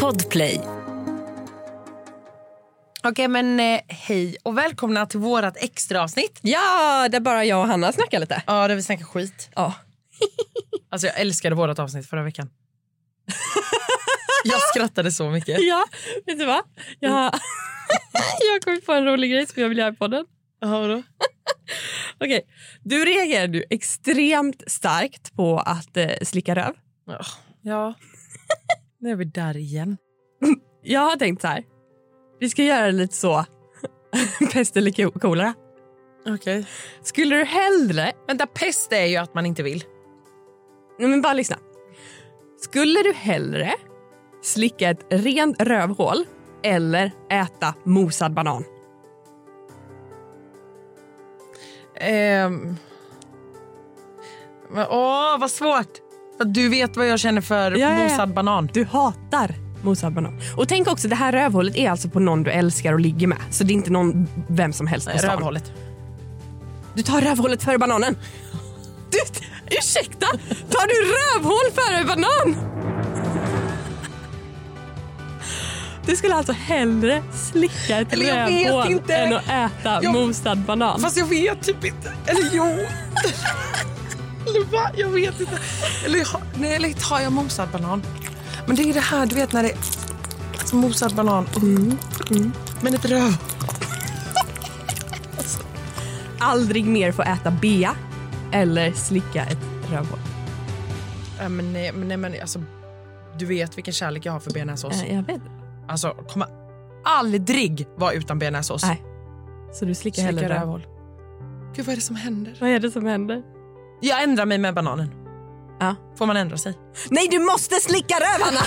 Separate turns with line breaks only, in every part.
Podplay.
Okej, men eh, hej och välkomna till vårt extra avsnitt.
Ja, där bara jag och Hanna snackar lite.
Ja, där vi snackar skit.
Ja.
Alltså jag älskade vårt avsnitt förra veckan. jag skrattade så mycket.
Ja, vet du vad? Jag har jag har kommit på en rolig grej som jag vill göra i podden.
Ja, vadå?
Okej, du reagerade ju extremt starkt på att eh, slicka röv.
Ja. Nu är vi där igen.
Jag har tänkt så här. Vi ska göra lite så. Pest eller ko- kolera.
Okej.
Skulle du hellre...
Vänta, pest är ju att man inte vill.
Nej, men bara lyssna. Skulle du hellre slicka ett rent rövhål eller äta mosad banan?
Ehm. Men, Åh, vad svårt! För att Du vet vad jag känner för
Ja, ja, ja.
mosad banan.
Du hatar mosad banan. Och tänk också, det här rövhålet är alltså på någon du älskar och ligger med. Så det är inte någon vem som helst på stan.
Rövhålet.
Du tar rövhålet före bananen. Du, ursäkta! Tar du rövhål före banan? Du skulle alltså hellre slicka ett
Eller jag vet
rövhål
inte.
än att äta
Jag-
mosad banan.
Fast jag vet typ inte. Eller jo. eller va? Jag vet inte. Eller, ha- nej, eller tar jag mosad banan? Men det är det här, du vet när det är mosad banan. Men ett röv.
Aldrig mer få äta bea eller slicka ett rövhål.
Äh, men nej, men, nej, men alltså. Du vet vilken kärlek jag har för bearnaisesås.
Äh, jag vet.
Alltså, kommer aldrig vara utan bearnaisesås.
Nej. Så du slickar hellre
Slickar
rövhål?
rövhål. Gud, vad är det som händer?
Vad är det som händer?
Jag ändrar mig med bananen.
Ja.
Får man ändra sig?
Nej, du måste slicka rövarna!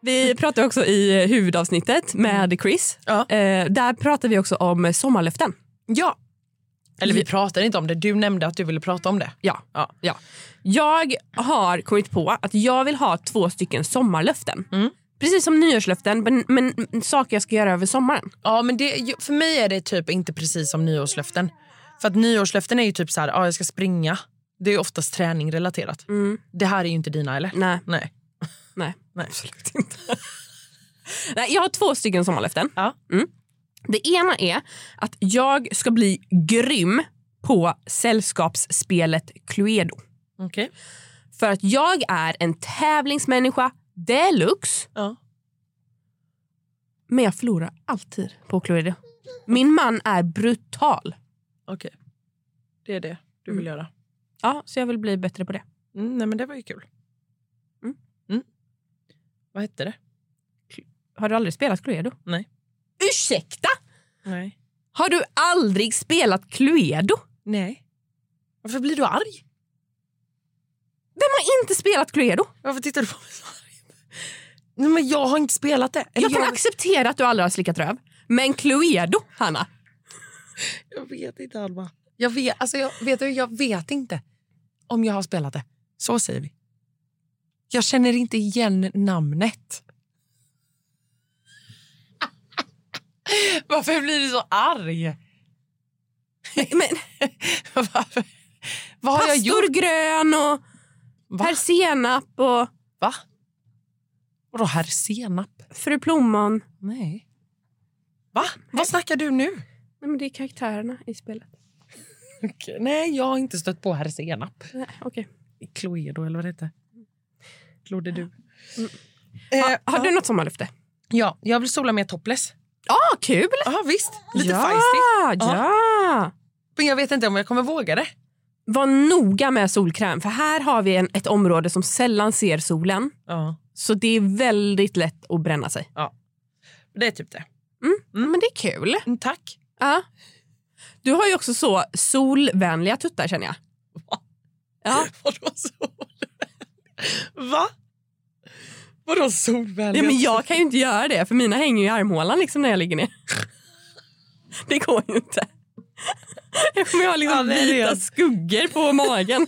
Vi pratade också i huvudavsnittet med Chris.
Ja.
Eh, där pratade vi också om sommarlöften.
Ja. Eller vi pratade inte om det. Du nämnde att du ville prata om det.
Ja.
Ja.
Ja. Jag har kommit på att jag vill ha två stycken sommarlöften.
Mm.
Precis som nyårslöften, men, men saker jag ska göra över sommaren.
Ja, men det, för mig är det typ inte precis som nyårslöften. För att nyårslöften är ju typ så här, ja, jag ska springa. Det är ju oftast träning relaterat. Det här är ju inte dina eller?
Nej,
Nej.
nej.
Nej.
Absolut inte. nej, jag har två stycken sommarlöften.
Ja.
Mm. Det ena är att jag ska bli grym på sällskapsspelet Cluedo.
Okej.
För att jag är en tävlingsmänniska deluxe.
Ja.
Men jag förlorar alltid på Cluedo. Min man är brutal.
Okej. Det är det du vill göra.
Ja, så jag vill bli bättre på det.
Mm, nej, men det var ju kul.
Mm.
Mm. Vad hette det?
Har du aldrig spelat Cluedo?
Nej.
Ursäkta?
Nej.
Har du aldrig spelat Cluedo?
Nej. Varför blir du arg?
Vem har inte spelat Cluedo?
Varför tittar du på mig så arg? Nej, men jag har inte spelat det. Eller
Jag kan acceptera att du aldrig har slickat röv. Men Cluedo, Hanna?
Jag vet inte, Alma. Jag vet, alltså jag, vet du, jag vet inte om jag har spelat det. Så säger vi. Jag känner inte igen namnet. Varför blir du så arg?
Men,
Varför? Vad har jag gjort?
pastor Grön och
Va?
Herr Senap och
Va? Vadå herr senap?
Fru Plommon.
Nej. Va? Vad snackar du nu?
Nej, men det är karaktärerna i spelet.
Nej, jag har inte stött på herr senap.
Nej, Okej.
Cluedo eller vad det heter. Claude du. Eh,
Ha, har du något sommarlöfte?
Ja, jag vill sola mer topless.
Ja, kul!
Ja, visst. Lite
ja,
feisty.
Ja!
Men jag vet inte om jag kommer våga det.
Var noga med solkräm, för här har vi en, ett område som sällan ser solen.
Ja.
Så det är väldigt lätt att bränna sig.
Det är typ det.
Mm. Men det är kul.
Mm, tack.
Ja. Du har ju också så solvänliga tuttar känner jag.
Va?
Ja.
Vadå solvänlig? Va? Vadå solvänlig?
ja, men jag kan ju inte göra det för mina hänger ju i armhålan liksom när jag ligger ner. Det går ju inte. Jag kommer ju
Ja,
ha liksom
det är
vita
det.
skuggor på magen.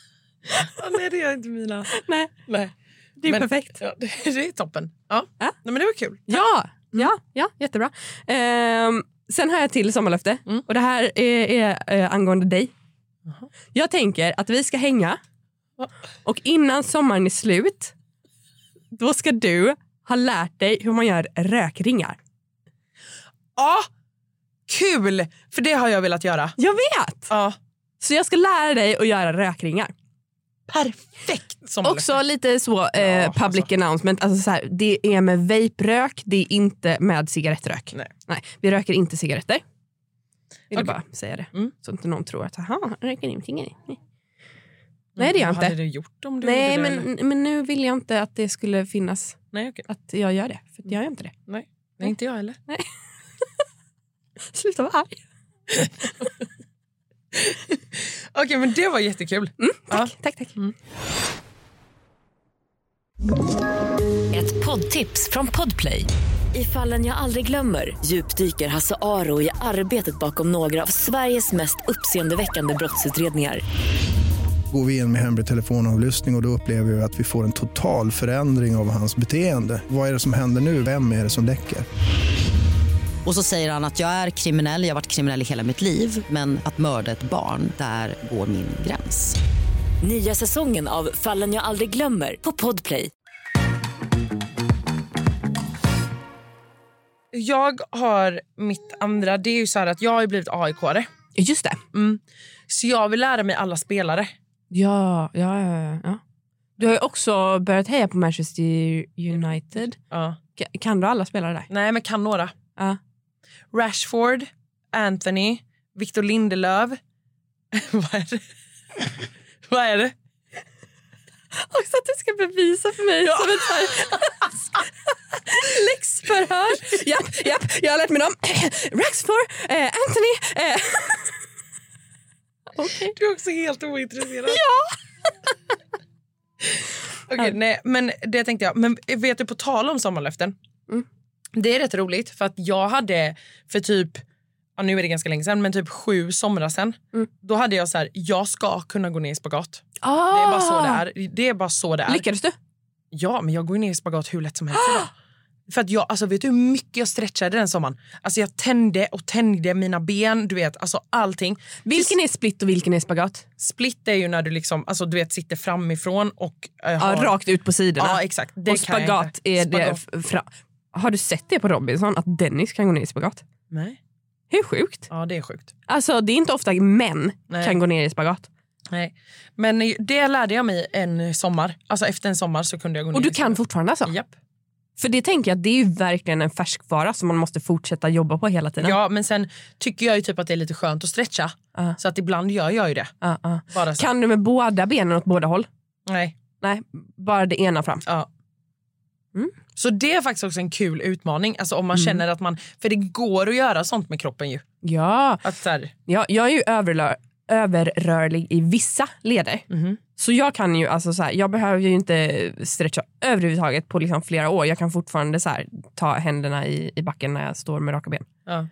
Ja, nej, det gör inte mina.
Nej.
Nej.
Det är
Men-
perfekt.
Ja, det, det är toppen. Ja.
Ja.
Nej, men det var kul.
Ja,
Mm.
ja, ja jättebra. Ehm, sen har jag ett till sommarlöfte
Mm.
och det här är, är, eh, angående dig.
Jaha.
Jag tänker att vi ska hänga
Va?
och innan sommaren är slut då ska du ha lärt dig hur man gör rökringar.
Ja, kul! För det har jag velat göra.
Jag vet!
Ja,
Så jag ska lära dig att göra rökringar.
perfekt sommarlöfte.
Också lite så eh,
Ja, alltså.
public announcement. Alltså så här, det är med vape-rök, det är inte med cigarettrök.
Nej.
vi röker inte cigaretter. Vill
Okej.
bara säga det.
Mm.
Så inte någon tror att aha, han röker ingenting. Nej. Nej, det gör jag
Vad
inte.
hade du gjort om du
Nej,
gjorde det? eller?
men, men nu vill jag inte att det skulle finnas
Nej, okej.
att jag gör det. För jag gör inte det.
Nej, inte jag heller.
Sluta vara arg.
Okej, men det var jättekul.
Tack, tack, tack.
Mm.
Ett poddtips från Podplay. I fallen jag aldrig glömmer djupdyker Hasse Aro i arbetet bakom några av Sveriges mest uppseendeväckande brottsutredningar.
går vi in med hemlig telefonavlyssning och, och då upplever vi att vi får en total förändring av hans beteende. Vad är det som händer nu? Vem är det som läcker?
Och så säger han att jag är kriminell, jag har varit kriminell i hela mitt liv men att mörda ett barn, där går min gräns.
Nya säsongen av Fallen jag aldrig glömmer på Podplay.
Jag har mitt andra, det är ju så här att jag har ju blivit AIK-are.
Ja, Just det.
Mm. Så jag vill lära mig alla spelare.
Ja, ja, ja, ja. Du har ju också börjat heja på Manchester United.
Ja.
Ka- Kan du alla spelare där?
Nej, men kan några.
Ja.
Rashford, Anthony, Victor Lindelöf. Vad är det? Vad är det?
Också att du ska bevisa för mig som ett så här- läxförhör. Japp, japp, jag har lärt mig dem. Raxford, eh, Anthony. Eh. Okej.
Du är också helt ointresserad. ja! Okej, nej, men det tänkte jag. Men vet du, på tal om sommarlöften.
Mm.
Det är rätt roligt för att jag hade för typ, ja, nu är det ganska länge sedan, men typ sju somrar sedan.
Mm.
Då hade jag så här, jag ska kunna gå ner i spagat.
Ah.
Det är bara så det är. Det är bara så det är.
Lyckades du?
Ja, men jag går ju ner i spagat hur lätt som helst idag.
Ah!
För att jag, alltså vet du hur mycket jag stretchade den sommaren? Alltså jag tände och tände mina ben, du vet, alltså allting.
Vilken är split och vilken är spagat?
Split är ju när du liksom, alltså du vet sitter framifrån och... eh,
Ja,
har-
rakt ut på sidorna.
Ja, exakt. Det
och
kan jag
spagat
inte.
är det...
Spagat.
f- Fra- har du sett det på Robinson, att Dennis kan gå ner i spagat?
Nej.
Hur sjukt?
Ja, det är sjukt.
Alltså, det är inte ofta män
Nej.
kan gå ner i spagat.
Nej. Men eh, det lärde jag mig en sommar. Alltså efter en sommar så kunde jag gå ner.
Och du
i
kan
spagat.
fortfarande alltså?
Japp.
För det tänker jag, det är ju verkligen en färskvara som man måste fortsätta jobba på hela tiden.
Ja, men sen tycker jag ju typ att det är lite skönt att stretcha.
Ja.
Så att ibland gör jag ju det.
Ja, ja.
Bara så.
Kan du med båda benen åt båda håll?
Nej.
Nej, bara det ena fram.
Ja.
Mm.
Så det är faktiskt också en kul utmaning. Alltså om man
Mm.
känner att man... För det går att göra sånt med kroppen ju.
Ja,
Att så här,
ja jag är ju överlö- överrörlig i vissa leder.
Mhm.
Så jag kan ju, alltså så här, jag behöver ju inte stretcha överhuvudtaget på liksom flera år. Jag kan fortfarande så här, ta händerna i, i backen när jag står med raka ben.
ja.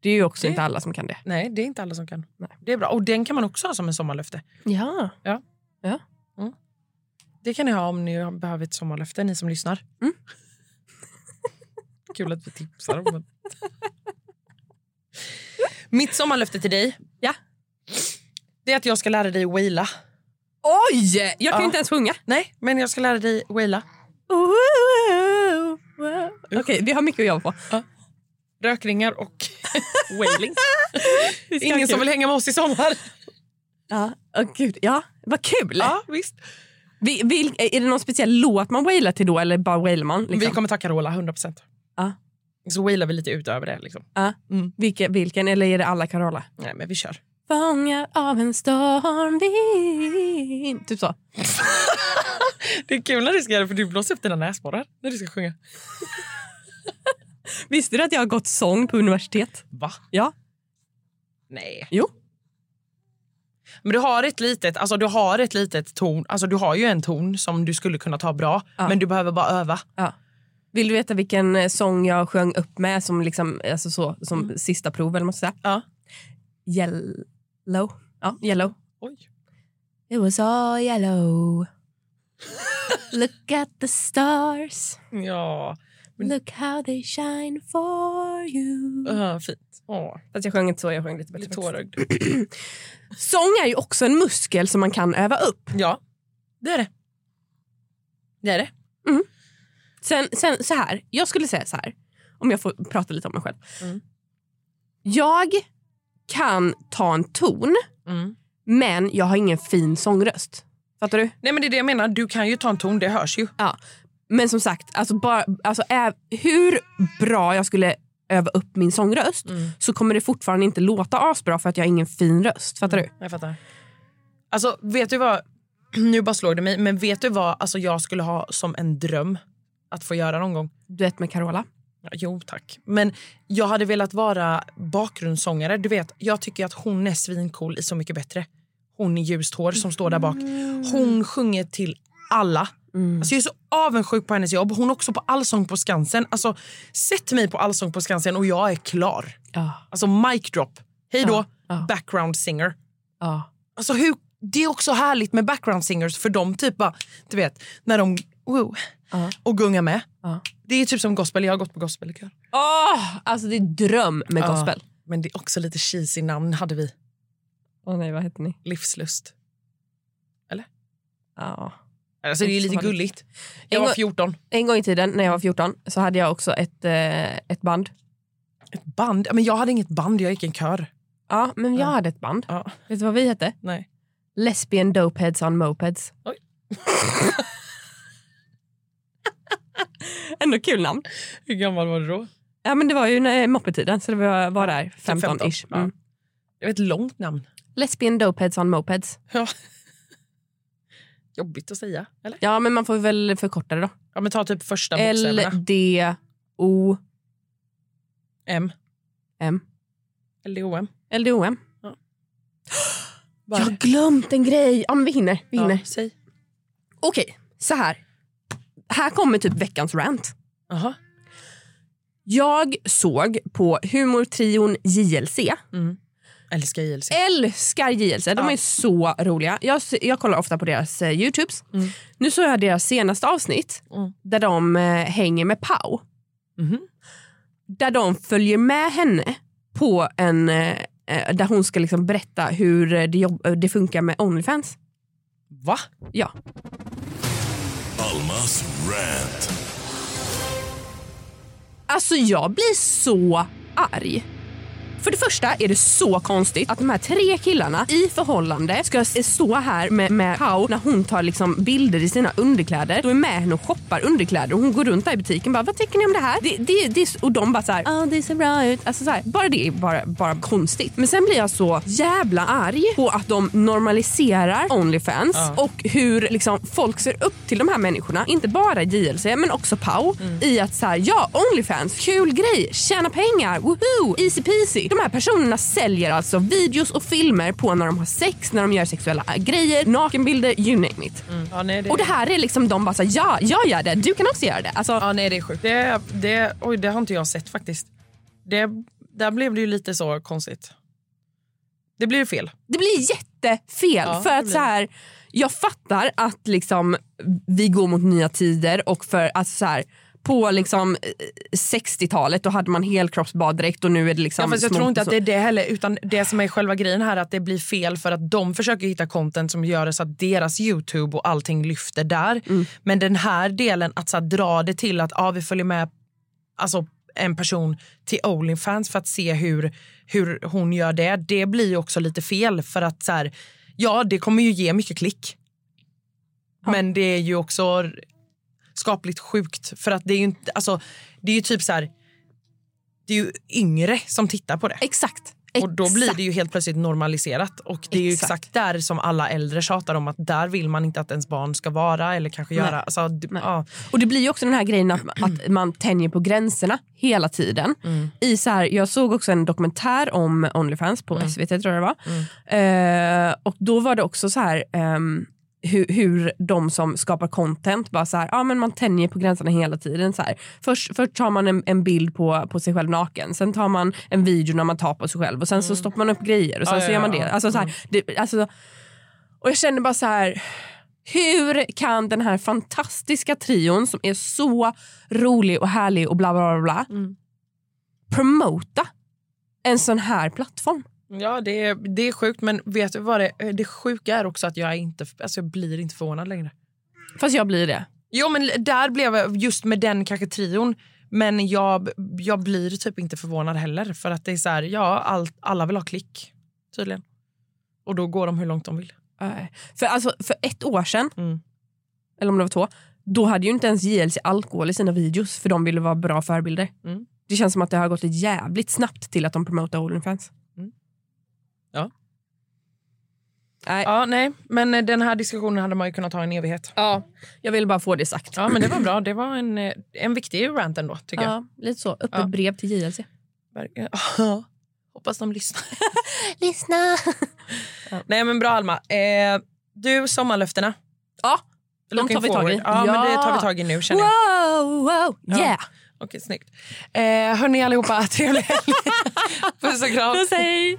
Det är ju också
Det-
inte alla som kan det.
Nej, det är inte alla som kan.
Nej.
Det är bra. Och den kan man också ha som en sommarlöfte.
Ja.
Det kan ni ha om ni behöver ett sommarlöfte, ni som lyssnar.
Mm.
Kul att vi tipsar om det. Mitt sommarlöfte till dig
Ja.
Det är att jag ska lära dig waila.
Oj! Jag kan ju
Ja.
inte ens sjunga.
Nej, men jag ska lära dig waila.
Okej, vi har mycket att jobba på.
Rökringar och wailing.
Vi ska ha
Ingen
kul.
som vill hänga med oss i sommar.
Ja, åh, gud. ja. vad kul!
Ja, visst.
Vi, vil, är det någon speciell låt man wailar till då eller bara wailar man? Liksom?
Vi kommer ta Carola 100%.
Ja.
Så wailar vi lite utöver det. Liksom.
Ja. Vilke, vilken? Eller är det alla Carola?
Nej, men vi kör.
Fångad av en stormvind. Typ så.
Det är kul när du ska göra det, för du blåser upp dina näsborrar när du ska sjunga.
Visste du att jag har gått sång på universitet?
Va?
Ja.
Nej.
Jo.
Men du har ett litet, alltså du har ett litet ton, alltså du har ju en ton som du skulle kunna ta bra,
Ja.
men du behöver bara öva.
Vill du veta vilken eh, sång jag sjöng upp med som, liksom, alltså så, som sista prov? Eller måste säga?
Ja.
Yellow. Ja, yellow.
Oj.
It was all yellow. Look at the stars,
Ja,
look how they shine for you.
uh, fint. Åh,
Fast jag sjöng inte så, jag sjöng lite bättre.
lite
faktiskt.
tårögd.
Sång är ju också en muskel som man kan öva upp.
Ja, det är det. Det är det.
Sen, sen så här, jag skulle säga så här, om jag får prata lite om mig själv.
Mm.
Jag kan ta en ton, men jag har ingen fin sångröst. Mm. Fattar du?
Nej men det är det jag menar, du kan ju ta en ton, det hörs ju.
Men som sagt, alltså bara, alltså, ä- hur bra jag skulle öva upp min sångröst så kommer det fortfarande inte låta asbra för att jag har ingen fin röst. Fattar du?
Jag fattar. Alltså vet du vad, nu bara slår det mig, men vet du vad alltså, jag skulle ha som en dröm att få göra någon gång?
Duett med Carola.
Ja, Jo tack. Men jag hade velat vara bakgrundssångare. Du vet, jag tycker att hon är svincool i Så mycket bättre. Hon i ljust hår som står där bak. Hon sjunger till alla.
Mm.
Alltså jag är så avundsjuk på hennes jobb. Hon är också på Allsång på Skansen. Alltså, sätt mig på Allsång på Skansen och jag är klar.
Ja,
Alltså mic drop. Hej då,
ja.
background singer.
ja.
Alltså hur, det är också härligt med background singers för de typ bara, du vet, när de woo,
Ja.
och gungar med.
Ja.
Det är typ som gospel, jag har gått på gospelkör.
Åh, alltså det är dröm med
Ja.
gospel.
Men det är också lite cheesy namn hade vi.
Åh nej, vad heter ni?
Livslust.
Ja.
Alltså det är ju lite gulligt. Jag
En
var
gång-
14.
En gång i tiden när jag var 14 så hade jag också ett, eh, ett band.
Ett band? Ja, Men jag hade inget band, jag gick i en kör.
Ja, men jag
Ja.
hade ett band.
Ja.
Vet du vad vi hette?
Nej.
Lesbian Dopeheads on Mopeds.
Oj.
Ändå kul namn.
Hur gammal var du då?
Ja, men det var ju när- moppetiden, så det var, var där 15-ish.
15, typ ja.
Mm.
Det var ett långt namn.
Lesbian Dopeheads on Mopeds.
Ja. Jobbigt att säga, eller?
Ja, men man får väl förkorta det då.
Ja men ta typ första bokstäverna.
L-D-O-M.
M. L-D-O-M.
LDOM.
Ja.
Jag har glömt en grej. Ja, men vi hinner. Vi hinner.
Ja, säg.
Okej, så här. Här kommer typ veckans rant.
Jaha.
Jag såg på humortrion JLC.
Älskar JLC.
Älskar JLC, de
Ja.
är så roliga. Jag, s- jag kollar ofta på deras eh, Youtubes. Nu såg jag deras senaste avsnitt
Mm.
där de eh, hänger med Pau.
Mhm.
Där de följer med henne på en... Eh, eh, där hon ska liksom berätta hur eh, det, jobb- eh, det funkar med Onlyfans.
Va?
Ja.
Almas rant.
Alltså jag blir så arg. För det första är det så konstigt att de här tre killarna i förhållande ska s- stå här med, med Pau när hon tar liksom bilder i sina underkläder. Då är med henne och shoppar underkläder och hon går runt där i butiken bara vad tycker ni om det här? Det, det, det, är s- och de bara så här, ja det ser bra ut. Alltså så här, bara det är bara, bara konstigt. Men sen blir jag så jävla arg på att de normaliserar Onlyfans och hur liksom folk ser upp till de här människorna. Inte bara JLC men också Pau
Mm.
i att så här, ja Onlyfans, kul grej, tjäna pengar, woohoo, easy peasy. De här personerna säljer alltså videos och filmer på när de har sex, när de gör sexuella äh, grejer, nakenbilder, you name it.
Ja, nej, Mm. det...
Och det här är liksom de bara så här, ja, jag gör det, du kan också göra det. Alltså,
Ja, nej, det är sjukt. Det, det, oj, det har inte jag sett faktiskt. Det, där blev det ju lite så konstigt. Det blev ju fel.
Det blir jättefel.
Ja,
för
det
att
blir
så
det.
här, jag fattar att liksom, vi går mot nya tider och för att så här, på liksom eh, 60-talet då hade man helkroppsbaddräkt och nu är det liksom...
Ja, fast jag
små-
tror inte att det är det heller. Utan det som är själva grejen här är att det blir fel för att de försöker hitta content som gör det så att deras Youtube och allting lyfter där.
Mm.
Men den här delen att så här, dra det till att ja, vi följer med alltså, en person till Onlyfans för att se hur, hur hon gör det. Det blir ju också lite fel för att så här, ja, det kommer ju ge mycket klick. Men det är ju också skapligt sjukt för att det är ju inte, alltså det är ju typ så här det är ju yngre som tittar på det.
Exakt. exakt.
Och då blir det ju helt plötsligt normaliserat. Och det är ju
Exakt.
exakt, där som alla äldre tjatar om att där vill man inte att ens barn ska vara eller kanske göra.
Nej.
Alltså, d-
Nej.
ja.
Och det blir ju också den här grejen att, att man tänjer på gränserna hela tiden.
Mm.
I så här, jag såg också en dokumentär om Onlyfans på
Mm.
SVT tror jag det var. Eh, och då var det också så här ehm, hur, hur de som skapar content bara så här, ja men man tänjer på gränserna hela tiden. Så här. Först, först tar man en, en bild på, på sig själv naken, sen tar man en video när man tar på sig själv och sen så stoppar man upp grejer och sen
Mm. Ja, Mm.
så
ja, ja,
gör man
ja.
det. Alltså, så här, det alltså, och jag kände bara så här, Hur kan den här fantastiska trion som är så rolig och härlig och bla bla bla, bla promota en sån här plattform?
Ja, det är, det är sjukt, men vet du vad det, det sjuka är också att jag, är inte, alltså jag blir inte förvånad längre.
Fast jag blir det.
Jo, men där blev jag just med den kanske trion. Men jag, jag blir typ inte förvånad heller. För att det är så här, ja, all, alla vill ha klick tydligen. Och då går de hur långt de vill.
Eh. Nej. För, alltså, för ett år sedan,
Mm.
eller om det var två, då hade ju inte ens JLC alkohol i sina videos för de ville vara bra förebilder.
Mm.
Det känns som att det har gått jävligt snabbt till att de promotar Onlyfans.
Mm. Ja.
Nej. Ja.
Ja, nej, men eh, den här diskussionen hade man ju kunnat ha i en evighet.
jag ville bara få det sagt.
Ja, men det var bra. Det var en, eh, en viktig rant ändå, tycker jag.
Ja, lite så. Öppet
Ja.
brev till JLC.
Verkligen. Ja. Hoppas de lyssnar. Lyssna! Nej, men bra, Alma. Eh, du, sommarlöftena.
Ja, de
Looking
tar vi tag i.
forward. Ja, men det tar vi
Ja.
tag i nu, känner jag.
Wow, wow,
Ja.
yeah!
Okej, snyggt. Eh, hörni allihopa, trevlig helg. Puss och kram.
Puss, hej!